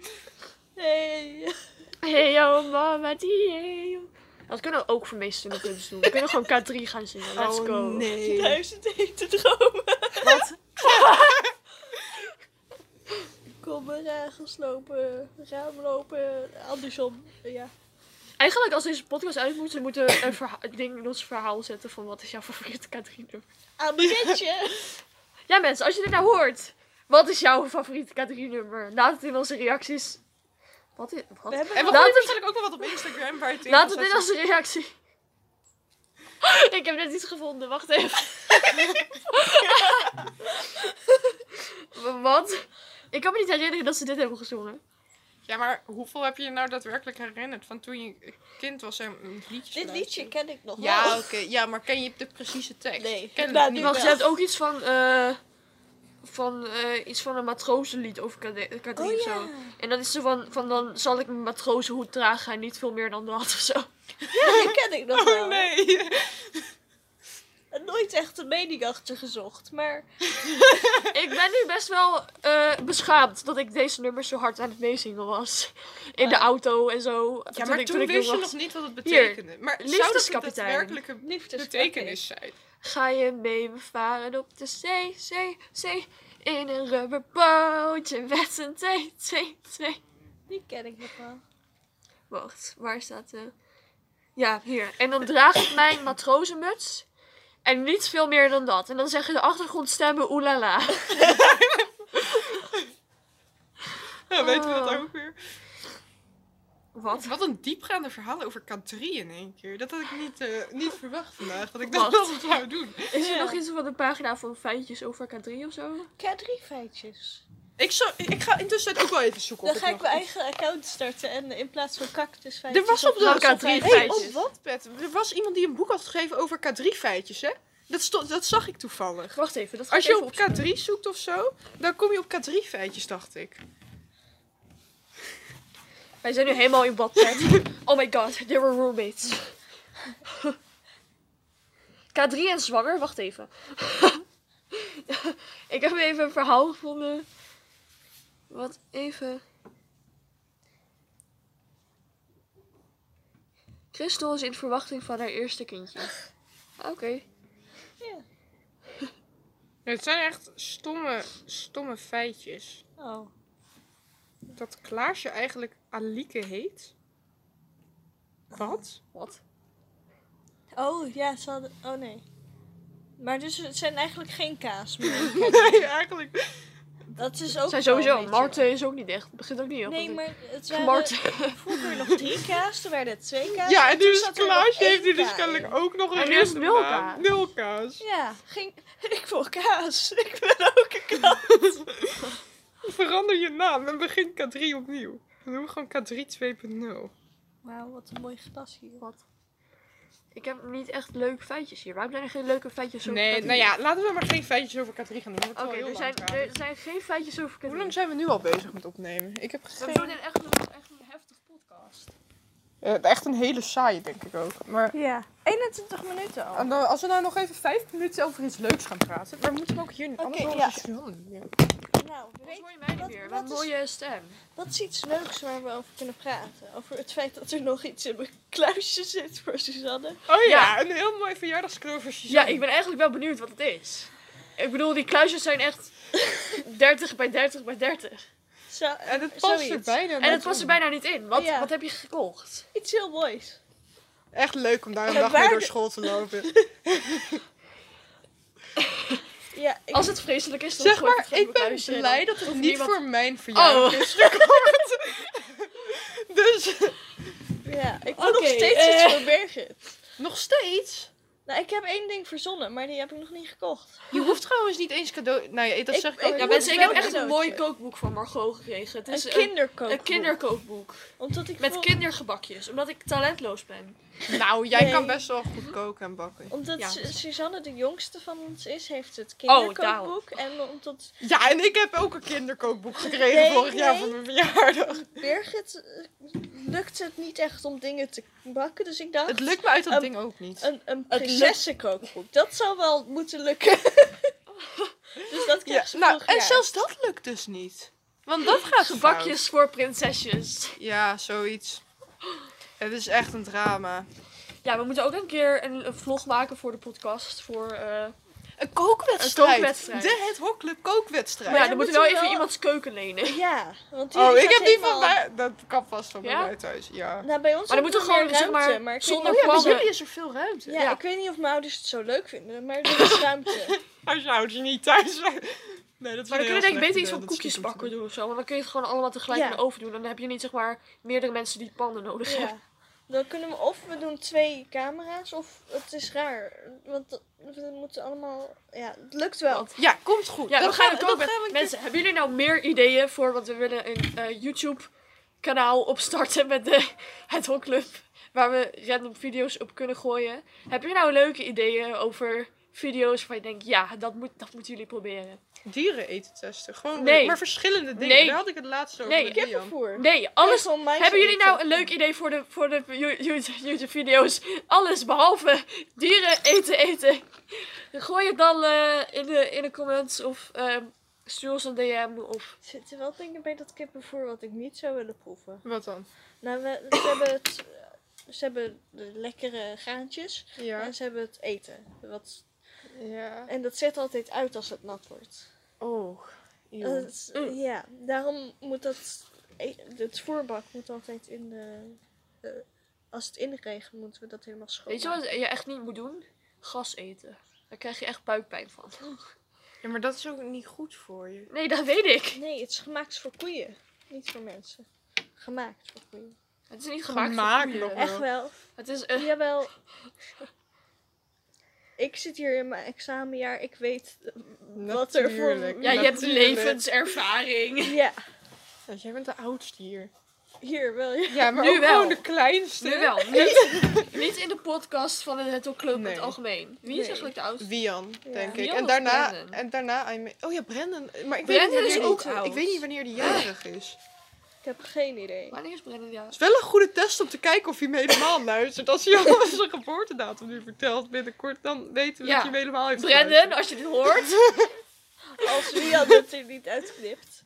Speaker 3: Hey.
Speaker 1: Hey yo, mama, die hey yo. Dat kunnen we ook voor meeste punten doen. We kunnen gewoon K3 gaan zingen. Let's go.
Speaker 2: Oh nee.
Speaker 3: Duizend hete dromen. (laughs)
Speaker 1: Wat?
Speaker 3: Kommen, regels lopen, raam lopen, andersom. Ja.
Speaker 1: Eigenlijk, als deze podcast uit moet, dan moeten we een verha- ding in ons verhaal zetten van wat is jouw favoriete K3-nummer.
Speaker 3: Aan beetje.
Speaker 1: Ja, mensen, als je dit nou hoort, wat is jouw favoriete K3-nummer? Laat het in onze reacties. Wat is.
Speaker 3: We
Speaker 1: Wat?
Speaker 2: En
Speaker 3: hebben
Speaker 2: we
Speaker 1: Laat
Speaker 2: gooien
Speaker 1: het-
Speaker 2: waarschijnlijk ook wel wat op Instagram waar het in
Speaker 1: Laat
Speaker 2: kan
Speaker 1: het in
Speaker 2: zetten.
Speaker 1: onze reactie. (laughs) Ik heb net iets gevonden, wacht even. (laughs) wat? Ik kan me niet herinneren dat ze dit hebben gezongen.
Speaker 2: Ja, maar hoeveel heb je je nou daadwerkelijk herinnerd van toen je kind was en een liedje
Speaker 3: Dit liedje ken ik nog
Speaker 2: Ja,
Speaker 3: wel.
Speaker 2: oké. Ja, maar ken je de precieze tekst?
Speaker 3: Nee.
Speaker 2: Ik Ken
Speaker 3: Nou,
Speaker 2: het
Speaker 3: nu
Speaker 2: niet.
Speaker 1: Wacht, ze
Speaker 3: wel.
Speaker 1: heeft ook iets van, eh, van eh, iets van een matrozenlied over K3 K3
Speaker 3: Oh
Speaker 1: of zo.
Speaker 3: ja.
Speaker 1: En dat is zo van, van dan zal ik mijn matrozenhoed dragen en niet veel meer dan dat of zo.
Speaker 3: Ja, die ken ik nog wel.
Speaker 2: Oh nee.
Speaker 3: Nooit echt een mening achter gezocht, maar
Speaker 1: ik ben nu best wel eh, beschaamd dat ik deze nummers zo hard aan het meezingen was. In de
Speaker 3: Ah.
Speaker 1: auto en zo.
Speaker 2: Eh. Ja, maar
Speaker 1: ik-
Speaker 2: toen,
Speaker 1: ik jong
Speaker 2: wist je nog
Speaker 1: was.
Speaker 2: niet wat het
Speaker 1: Hier,
Speaker 2: betekende. maar zou dat een
Speaker 1: liefdeskapitein.
Speaker 2: daadwerkelijke
Speaker 3: liefdes.
Speaker 2: betekenis zijn?
Speaker 1: Ga je mee, we varen op de zee, zee, zee. In een rubberbootje met een twee, twee, twee.
Speaker 3: Die ken ik nog wel.
Speaker 1: Wacht, waar staat de... Ja, hier. En dan draag ik mijn matrozenmuts. En niet veel meer dan dat. En dan zeggen de achtergrondstemmen oelala.
Speaker 2: Ja, weten we dat
Speaker 1: Oh.
Speaker 2: ook weer?
Speaker 1: Wat?
Speaker 2: Wat een diepgaande verhaal over K3 in één keer. Dat had ik niet, eh, niet verwacht vandaag. Dat ik
Speaker 1: Wacht.
Speaker 2: dat wel eens zou doen.
Speaker 1: Is er
Speaker 3: Ja.
Speaker 1: nog iets van de pagina van feitjes over K3 of zo?
Speaker 3: K3 feitjes.
Speaker 2: Ik, zou, ik ga intussen ook wel even zoeken.
Speaker 3: Dan
Speaker 2: of
Speaker 3: ga
Speaker 2: het
Speaker 3: ik
Speaker 2: nog
Speaker 3: mijn
Speaker 2: is.
Speaker 3: eigen account starten en in plaats van cactus
Speaker 2: Er
Speaker 3: feitjes.
Speaker 2: was op
Speaker 1: Nou,
Speaker 2: de
Speaker 1: K3
Speaker 2: Hey,
Speaker 1: feitjes.
Speaker 2: op wat, Pet? Er was iemand die een boek had geschreven over K3-feitjes, hè? Dat, sto- dat zag ik toevallig.
Speaker 1: Wacht even, dat ga
Speaker 2: Als
Speaker 1: ik
Speaker 2: je
Speaker 1: even
Speaker 2: op K3 zoekt of zo, dan kom je op K3-feitjes, dacht ik.
Speaker 1: Wij zijn nu (laughs) helemaal in badtijd. Oh my god, they were roommates. K3 en zwanger, wacht even. (laughs) ik heb even een verhaal gevonden. Wat even. Christel is in verwachting van haar eerste kindje. Oké.
Speaker 2: Het zijn echt stomme, stomme feitjes.
Speaker 3: Oh.
Speaker 2: Dat Klaasje eigenlijk Alieke heet.
Speaker 1: (laughs)
Speaker 2: Wat?
Speaker 1: Wat?
Speaker 3: Oh, ja, ze hadden... Oh, nee. Maar dus het zijn eigenlijk geen kaas meer.
Speaker 2: (laughs) Nee, eigenlijk.
Speaker 3: Dat is
Speaker 1: Zijn
Speaker 3: ook wel
Speaker 1: sowieso.
Speaker 3: beetje-
Speaker 1: Marten is ook niet echt. Het begint ook niet heel
Speaker 3: Nee,
Speaker 1: goed.
Speaker 3: maar het
Speaker 1: Van
Speaker 3: waren
Speaker 1: Marten.
Speaker 3: vroeger nog drie kaas, toen werden het twee kaas.
Speaker 2: Ja, en nu is
Speaker 3: zat er nog
Speaker 2: Klaasje
Speaker 3: één
Speaker 2: heeft nu dus
Speaker 3: kaas.
Speaker 2: kennelijk ook nog een
Speaker 1: En nu is
Speaker 2: random
Speaker 1: nul
Speaker 2: naam.
Speaker 1: kaas.
Speaker 2: Nul kaas.
Speaker 3: Ja, ging... (laughs) ik wil kaas. (laughs) Ik ben ook een kaas.
Speaker 2: Verander je naam en begin K3 opnieuw. Dan doen we gewoon K3 2.0.
Speaker 3: Wauw, wat een mooi glas hier.
Speaker 1: Wat? Ik heb niet echt leuke feitjes hier. Waarom zijn er geen leuke feitjes over
Speaker 2: Nee,
Speaker 1: K3?
Speaker 2: nou ja, laten we maar geen feitjes over K3 gaan doen.
Speaker 1: Oké, er, zijn, er zijn geen feitjes over K3.
Speaker 2: Hoe lang zijn we nu al bezig met opnemen? Ik heb
Speaker 1: We
Speaker 2: geen...
Speaker 1: doen dit echt een, echt een heftig podcast.
Speaker 2: Eh, echt een hele saaie, denk ik ook. Maar
Speaker 3: Ja, 21 minuten al.
Speaker 2: en dan- als we nou nog even vijf minuten over iets leuks gaan praten, maar moeten we ook hier... anders
Speaker 3: Oké,
Speaker 2: horen
Speaker 3: ja.
Speaker 2: ze Suzanne niet meer.
Speaker 3: Nou,
Speaker 1: Wat
Speaker 3: weet,
Speaker 1: hoor je mij niet
Speaker 3: wat-
Speaker 1: meer?
Speaker 3: wat
Speaker 1: Wat een
Speaker 3: is-
Speaker 1: mooie stem.
Speaker 3: dat is iets leuks waar we over kunnen praten. Over het feit dat er nog iets in mijn kluisje zit voor Suzanne.
Speaker 2: Oh ja,
Speaker 1: Ja.
Speaker 2: een heel mooi verjaardagscadeau voor
Speaker 1: Ja,
Speaker 2: Suzanne.
Speaker 1: ik ben eigenlijk wel benieuwd wat het is. Ik bedoel, die kluisjes zijn (laughs) echt 30 bij 30 bij 30.
Speaker 3: Zo, eh,
Speaker 2: En het past
Speaker 3: zoiets.
Speaker 2: er bijna
Speaker 1: En het
Speaker 2: net
Speaker 1: was er
Speaker 2: in.
Speaker 1: bijna niet in. Wat,
Speaker 3: Ja.
Speaker 1: wat heb je gekocht?
Speaker 3: Iets heel moois.
Speaker 2: Echt leuk om daar een
Speaker 3: Ja,
Speaker 2: dag mee
Speaker 3: waar
Speaker 2: door
Speaker 3: de-
Speaker 2: school te (laughs) lopen.
Speaker 3: Ja, ik,
Speaker 1: Als het vreselijk is, dan
Speaker 2: Zeg
Speaker 1: gooi
Speaker 2: maar,
Speaker 1: het
Speaker 2: ik ben blij dat het
Speaker 1: Hoeft
Speaker 2: niet
Speaker 1: niemand-
Speaker 2: voor mijn verjaardag
Speaker 1: Oh,
Speaker 2: is. (laughs) Dus
Speaker 3: ja, ik
Speaker 1: Oké,
Speaker 3: wil nog steeds
Speaker 1: eh.
Speaker 3: iets voor Birgit.
Speaker 2: nog steeds.
Speaker 3: Nou, ik heb één ding verzonnen, maar die heb ik nog niet gekocht.
Speaker 2: Je hoeft trouwens niet eens cadeau. Nou ja, dat
Speaker 3: Ik-
Speaker 2: zeg ik
Speaker 3: ik-
Speaker 2: al.
Speaker 1: ja,
Speaker 3: moet
Speaker 1: mensen, ik heb
Speaker 3: wel
Speaker 1: echt een
Speaker 3: cadeautje.
Speaker 1: mooi kookboek van Margot gekregen. Het is
Speaker 3: een
Speaker 1: een,
Speaker 3: kinderkookboek.
Speaker 1: een kinderkookboek.
Speaker 3: Omdat ik
Speaker 1: Met
Speaker 3: voel-
Speaker 1: kindergebakjes, omdat ik talentloos ben.
Speaker 2: Nou, jij
Speaker 3: Nee.
Speaker 2: kan best wel goed koken en bakken.
Speaker 3: Omdat
Speaker 1: Ja. Oh,
Speaker 3: Su- Suzanne de jongste van ons is, heeft het
Speaker 1: daarom.
Speaker 3: kinderkookboek. en omdat
Speaker 2: Ja, en ik heb ook een kinderkookboek gekregen
Speaker 3: Nee,
Speaker 2: vorig jaar
Speaker 3: nee.
Speaker 2: voor mijn verjaardag.
Speaker 3: Birgit eh, lukt het niet echt om dingen te bakken. Dus ik dacht,
Speaker 2: Het lukt me uit dat
Speaker 3: Ehm,
Speaker 2: ding ook niet.
Speaker 3: een, een prinsessenkookboek. Dat zou wel moeten
Speaker 2: (laughs)
Speaker 3: lukken. dus dat kreeg
Speaker 2: Ja,
Speaker 3: ze
Speaker 2: nou,
Speaker 3: vorig
Speaker 2: en
Speaker 3: jaar.
Speaker 2: zelfs dat lukt dus niet. Want dat gaat fout.
Speaker 1: Gebakjes voor prinsesjes.
Speaker 2: Ja, zoiets. Het is echt een drama.
Speaker 1: Ja, we moeten ook een keer een, een vlog maken voor de podcast. Voor, eh,
Speaker 2: Een kookwedstrijd.
Speaker 1: Een kookwedstrijd.
Speaker 2: De Het Hokclub kookwedstrijd.
Speaker 1: Maar ja,
Speaker 3: dan
Speaker 1: dan moeten we
Speaker 3: moeten
Speaker 1: wel
Speaker 3: we
Speaker 1: even
Speaker 3: wel-
Speaker 1: iemands keuken lenen.
Speaker 3: Ja, want
Speaker 2: Oh,
Speaker 3: jullie
Speaker 2: ik heb
Speaker 3: gaat
Speaker 2: die van
Speaker 3: helemaal-
Speaker 2: mij. Dat kan vast van bij
Speaker 1: Ja?
Speaker 2: mij thuis. Ja.
Speaker 3: Nou, bij ons
Speaker 1: Maar dan
Speaker 3: ook
Speaker 1: moeten we
Speaker 3: wel
Speaker 1: gewoon,
Speaker 3: meer
Speaker 1: zeg maar,
Speaker 3: ruimte, maar ik weet
Speaker 1: zonder
Speaker 3: niet-
Speaker 1: plan- Plannen.
Speaker 2: is er veel ruimte.
Speaker 3: Ja,
Speaker 1: Ja.
Speaker 3: ik weet niet of mijn ouders het zo leuk vinden, maar
Speaker 2: (laughs)
Speaker 3: er is ruimte.
Speaker 2: Als je ouders dus niet thuis zijn. Nee, dat is
Speaker 1: Maar dan kun
Speaker 2: heel
Speaker 1: je denk ik
Speaker 2: slecht
Speaker 1: beter iets
Speaker 2: idee,
Speaker 1: van
Speaker 2: dat is
Speaker 1: koekjes
Speaker 2: niet goed.
Speaker 1: bakken doen of zo. Want dan kun je het gewoon allemaal tegelijk
Speaker 3: Ja.
Speaker 1: in de oven doen. Dan heb je niet zeg maar meerdere mensen die pannen nodig hebben.
Speaker 3: Ja. Dan kunnen we of we doen twee camera's, of het is raar. Want dat- we moeten allemaal... Ja, het lukt wel.
Speaker 1: Want-
Speaker 2: Ja, komt goed.
Speaker 1: Ja,
Speaker 2: Dat
Speaker 1: we gaan het
Speaker 2: dat
Speaker 1: ook met
Speaker 2: gaan we een keer-
Speaker 1: mensen. Hebben jullie nou meer ideeën voor? Want we willen een eh, YouTube kanaal opstarten met de (laughs) het Hokclub. Waar we random video's op kunnen gooien. Heb je nou leuke ideeën over video's waar je denkt, ja, dat, moet, dat moeten jullie proberen?
Speaker 2: Dieren eten testen. Gewoon,
Speaker 1: Nee.
Speaker 2: maar verschillende dingen.
Speaker 1: Nee.
Speaker 2: Daar had ik het laatst over
Speaker 1: Nee.
Speaker 2: met Liam.
Speaker 3: Kippenvoer.
Speaker 1: Nee, alles.
Speaker 3: Even om mij
Speaker 1: Hebben
Speaker 3: te
Speaker 1: jullie nou
Speaker 3: eten.
Speaker 1: een leuk idee voor de, voor de Yo- Yo- YouTube-video's? Alles behalve dieren eten eten. Gooi het dan eh, in, de, in de comments of ehm, stuur ons een DM. Of...
Speaker 3: Er zitten wel dingen bij dat kippenvoer wat ik niet zou willen proeven.
Speaker 2: Wat dan?
Speaker 3: Nou, we, ze, hebben het, ze hebben de lekkere graantjes
Speaker 2: Ja.
Speaker 3: en ze hebben het eten. Wat,
Speaker 2: ja.
Speaker 3: en dat zet altijd uit als het nat wordt.
Speaker 2: Oh.
Speaker 3: Dat is-
Speaker 1: Mm.
Speaker 3: Ja, daarom moet dat... e- Het voorbak moet altijd in de... eh, als het inregent, moeten we dat helemaal schoon.
Speaker 1: Weet je wat je echt niet moet doen? Gas eten. Daar krijg je echt buikpijn van. (laughs)
Speaker 2: Ja, maar dat is ook niet goed voor je.
Speaker 1: Nee, dat weet ik.
Speaker 3: Nee, het is gemaakt voor koeien. Niet voor mensen. Gemaakt voor koeien.
Speaker 1: Het is niet gemaakt,
Speaker 2: Gemaakt
Speaker 1: voor
Speaker 2: nog.
Speaker 1: koeien.
Speaker 3: Echt wel.
Speaker 1: Het is een
Speaker 3: Jawel. (laughs) Ik zit hier in mijn examenjaar. Ik
Speaker 1: (laughs)
Speaker 3: weet wat er voor...
Speaker 2: Natuurlijk.
Speaker 1: ja, je hebt
Speaker 2: Natuurlijk.
Speaker 1: levenservaring.
Speaker 3: Ja,
Speaker 2: Jij bent de oudste hier.
Speaker 3: hier wel. Ja.
Speaker 2: Ja, maar
Speaker 1: Nu
Speaker 2: ook
Speaker 1: wel.
Speaker 2: gewoon de
Speaker 1: (laughs)
Speaker 2: kleinste.
Speaker 1: Nu wel. Niet, niet in de podcast van het Hetto Club in
Speaker 2: Nee.
Speaker 1: het algemeen. Wie is
Speaker 2: Nee.
Speaker 1: eigenlijk de oudste?
Speaker 2: Wian,
Speaker 3: Ja.
Speaker 2: denk ik.
Speaker 1: Wian
Speaker 2: en
Speaker 1: of
Speaker 2: daarna,
Speaker 1: Brandon?
Speaker 2: en daarna, I'm- oh ja, Brendan. Maar
Speaker 1: Brandon
Speaker 2: ik weet niet
Speaker 1: is
Speaker 2: wanneer
Speaker 1: ook
Speaker 2: die,
Speaker 1: oud.
Speaker 2: Ik weet niet wanneer die jarig is.
Speaker 3: heb geen idee.
Speaker 1: Wanneer is Brenda?
Speaker 2: Het is wel een goede test om te kijken of je hem helemaal (laughs) luistert. Als hij al zijn geboortedatum nu vertelt binnenkort, dan weten we
Speaker 1: Ja.
Speaker 2: dat je hem helemaal heeft
Speaker 1: Brendan,
Speaker 2: geluisterd.
Speaker 1: als je dit hoort.
Speaker 3: Als wie had het er niet (laughs) uitgeknipt.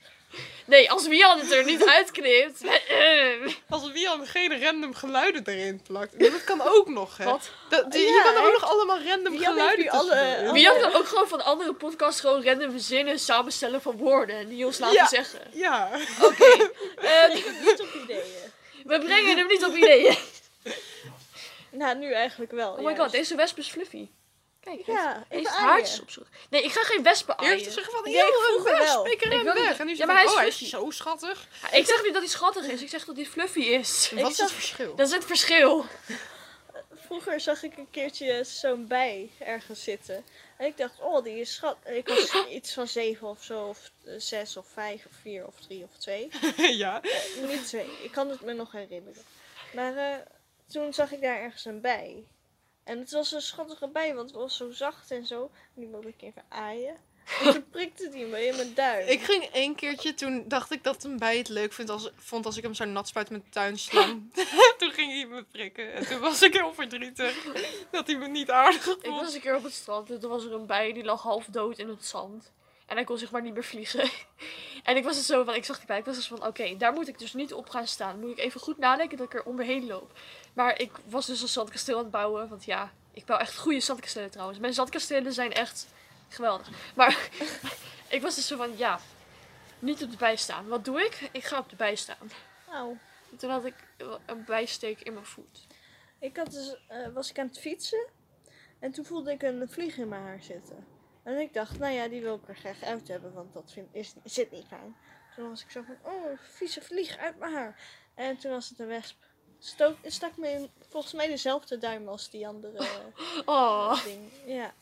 Speaker 1: Nee, als Wian het er niet
Speaker 2: (laughs)
Speaker 1: uitknipt.
Speaker 2: Als wie al geen random geluiden erin plakt. Ja, Dat kan ook nog, hè?
Speaker 1: Wat?
Speaker 2: Dat, die-
Speaker 3: Ja,
Speaker 2: je kan er
Speaker 3: hij
Speaker 2: ook nog allemaal random
Speaker 3: Wian heeft
Speaker 2: geluiden
Speaker 3: nu alle-
Speaker 2: tussendoor.
Speaker 3: alle-
Speaker 1: Wian kan ook gewoon van andere podcasts gewoon random zinnen samenstellen van woorden. En die ons laten
Speaker 2: Ja.
Speaker 1: zeggen.
Speaker 2: Ja.
Speaker 1: Oké. ehm,
Speaker 3: Ik heb niet op ideeën.
Speaker 1: we brengen hem niet op ideeën.
Speaker 3: Nou, nu eigenlijk wel.
Speaker 1: Oh my god,
Speaker 3: juist.
Speaker 1: deze wesp is fluffy. Kijk, hij
Speaker 3: Ja,
Speaker 1: heeft
Speaker 3: even
Speaker 1: haartjes
Speaker 3: aaien.
Speaker 1: op zoek. Nee, ik ga geen wespen aaien.
Speaker 2: Eerst zeggen van,
Speaker 3: Nee,
Speaker 2: joh,
Speaker 3: ik
Speaker 2: een
Speaker 3: vroeg hem wel.
Speaker 2: wesp, ik ren
Speaker 1: Ik wil
Speaker 2: weg.
Speaker 1: niet-
Speaker 2: En nu is
Speaker 1: Ja,
Speaker 2: ja,
Speaker 1: maar hij is
Speaker 2: oh, hij is
Speaker 1: fluffy.
Speaker 2: zo schattig.
Speaker 1: Ik zeg niet dat hij schattig is, ik zeg dat hij fluffy is.
Speaker 2: Wat is
Speaker 3: zag-
Speaker 2: het verschil?
Speaker 1: Dat is het verschil.
Speaker 3: Vroeger zag ik een keertje zo'n bij ergens zitten. En ik dacht, oh, die is schat. Ik (coughs) was iets van zeven of zo, of eh, zes of vijf of vier of drie of twee.
Speaker 2: (laughs) ja.
Speaker 3: Niet twee, ik kan het me nog herinneren. Maar eh, toen zag ik daar ergens een bij. En het was een schattige bij, want het was zo zacht en zo. En die wilde ik even aaien. En toen prikte die me in mijn duim.
Speaker 2: Ik ging één keertje, toen dacht ik dat een bij het leuk vindt als, vond als ik hem zo nat spuit met de tuin slam. (laughs) toen ging hij me prikken en toen was ik heel verdrietig dat hij me niet aardig vond.
Speaker 1: Ik was een keer op het strand en toen was er een bij die lag half dood in het zand. En hij kon zich maar niet meer vliegen. (laughs) En ik was het zo van, ik zag die bij, ik was dus van, oké, daar moet ik dus niet op gaan staan. Moet ik even goed nadenken dat ik er om me heen loop. Maar ik was dus een zandkasteel aan het bouwen, want ja, ik bouw echt goede zandkastelen trouwens. Mijn zandkastelen zijn echt geweldig. Maar (laughs) ik was dus zo van, ja, niet op de bij staan. Wat doe ik? Ik ga op de bij staan.
Speaker 3: Au.
Speaker 1: En Toen had ik een bijsteek in mijn voet.
Speaker 3: Ik had dus, eh, was ik aan het fietsen en toen voelde ik een vlieg in mijn haar zitten. En ik dacht, nou ja, die wil ik er graag uit hebben, want dat vind, is, zit niet fijn. Toen was ik zo van, oh, een vieze vlieg uit mijn haar. En toen was het een wesp. Stook, het stak me in, volgens mij dezelfde duim als die andere eh,
Speaker 1: Oh,
Speaker 3: ding. Ja.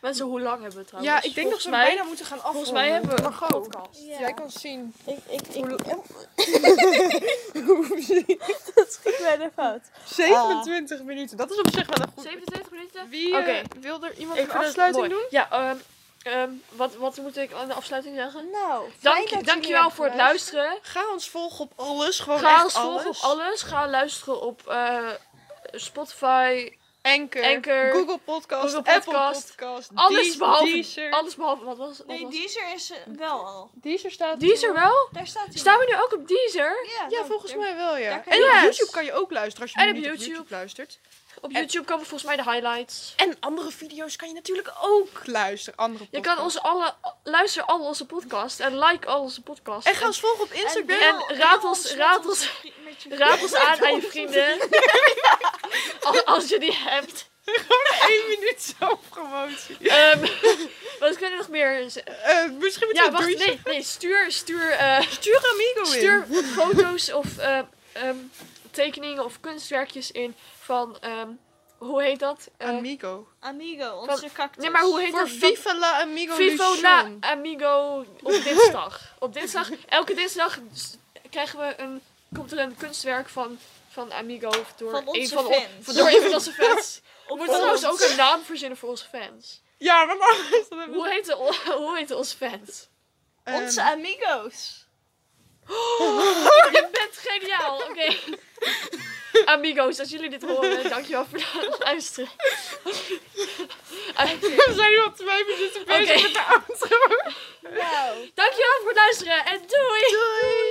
Speaker 1: mensen, hoe lang hebben we het trouwens?
Speaker 2: ja, ik denk dat
Speaker 1: Volgens
Speaker 2: we
Speaker 1: mij-
Speaker 2: bijna moeten gaan afronden.
Speaker 1: Volgens mij hebben we een
Speaker 2: Margot,
Speaker 1: podcast.
Speaker 3: Ja.
Speaker 2: Jij kan zien.
Speaker 3: Ik, ik, Oh. ik,
Speaker 1: (laughs)
Speaker 3: (laughs) dat ging bijna fout.
Speaker 2: 27 minuten, dat is op zich wel een goed...
Speaker 1: 27 minuten?
Speaker 2: Wie
Speaker 1: Oké.
Speaker 2: eh, wil er iemand een
Speaker 1: vind het
Speaker 2: afsluiting
Speaker 1: mooi.
Speaker 2: doen?
Speaker 1: Ja, ehm, ehm, wat, wat moet ik aan de afsluiting zeggen?
Speaker 3: Nou, fijn dat
Speaker 1: Dank,
Speaker 3: jullie
Speaker 1: dankjewel
Speaker 3: hebben
Speaker 1: voor het
Speaker 3: geluisterd.
Speaker 1: luisteren.
Speaker 2: Ga ons volgen op alles, gewoon
Speaker 1: Ga
Speaker 2: echt
Speaker 1: ons volgen op alles. Ga luisteren op eh, Spotify.
Speaker 2: Anchor,
Speaker 1: Anchor,
Speaker 2: Google Podcast,
Speaker 1: Google
Speaker 2: Apple
Speaker 1: Podcast,
Speaker 2: Podcast,
Speaker 1: Alles
Speaker 2: Dee-
Speaker 1: behalve,
Speaker 2: Deezer.
Speaker 1: alles behalve. Wat was wat
Speaker 3: Nee,
Speaker 1: was-
Speaker 3: Deezer is eh, wel al.
Speaker 2: Deezer staat
Speaker 1: Deezer wel?
Speaker 3: Daar staat hij.
Speaker 1: Staan we nu ook op Deezer?
Speaker 2: Ja, volgens mij wel, ja.
Speaker 3: daar
Speaker 2: En
Speaker 3: kan
Speaker 1: je-
Speaker 2: op
Speaker 1: Yes.
Speaker 2: YouTube kan je ook luisteren als je
Speaker 1: En
Speaker 2: nu
Speaker 1: op
Speaker 2: niet op
Speaker 1: YouTube.
Speaker 2: YouTube luistert.
Speaker 1: Op YouTube komen volgens mij de highlights.
Speaker 2: En andere video's kan je natuurlijk ook luisteren. Andere
Speaker 1: Je kan
Speaker 2: podcasts.
Speaker 1: ons alle, luister al onze podcast en like al onze podcast.
Speaker 2: En ga ons volgen op Instagram.
Speaker 1: en raad ons- raad ons- Raad ons aan
Speaker 3: (laughs)
Speaker 1: aan je vrienden. (laughs) Als, als je die hebt.
Speaker 2: Eén minuut zelfpromotie.
Speaker 1: Ehm, (laughs) wat kunnen we nog meer? z-
Speaker 2: Eh misschien moet Oh, je
Speaker 1: Ja,
Speaker 2: een
Speaker 1: wacht,
Speaker 2: doetje-
Speaker 1: nee, nee, stuur, stuur, eh,
Speaker 2: Stuur Amigo in.
Speaker 1: stuur foto's of eh, ehm, tekeningen of kunstwerkjes in van, ehm, hoe heet dat? Eh,
Speaker 2: Amigo.
Speaker 3: Amigo, onze
Speaker 1: Van-
Speaker 3: cactus.
Speaker 1: nee, maar hoe heet
Speaker 2: Voor
Speaker 1: dat?
Speaker 2: Viva la Amigo
Speaker 1: Vivo
Speaker 2: Lucian.
Speaker 1: na Amigo op dinsdag. op dinsdag, elke dinsdag s- krijgen we een, komt er een kunstwerk van, van Amigo of door
Speaker 3: Van
Speaker 1: een
Speaker 3: onze
Speaker 1: van on-
Speaker 3: fans.
Speaker 1: van- door een van onze
Speaker 3: (laughs)
Speaker 1: fans. We moeten
Speaker 3: ons.
Speaker 1: trouwens ook een naam verzinnen voor onze fans.
Speaker 2: Ja, maar anders. dan hebben we-
Speaker 1: Hoe heten, hoe heten onze fans?
Speaker 2: Ehm,
Speaker 3: Onze amigo's.
Speaker 1: Je bent geniaal, oké. Amigos, als jullie dit horen, dankjewel voor het luisteren. Eh,
Speaker 2: we zijn nu al twee minuten bezig
Speaker 1: Oké.
Speaker 2: met de outro.
Speaker 3: Nou.
Speaker 1: dankjewel voor het luisteren en doei!
Speaker 2: Doei.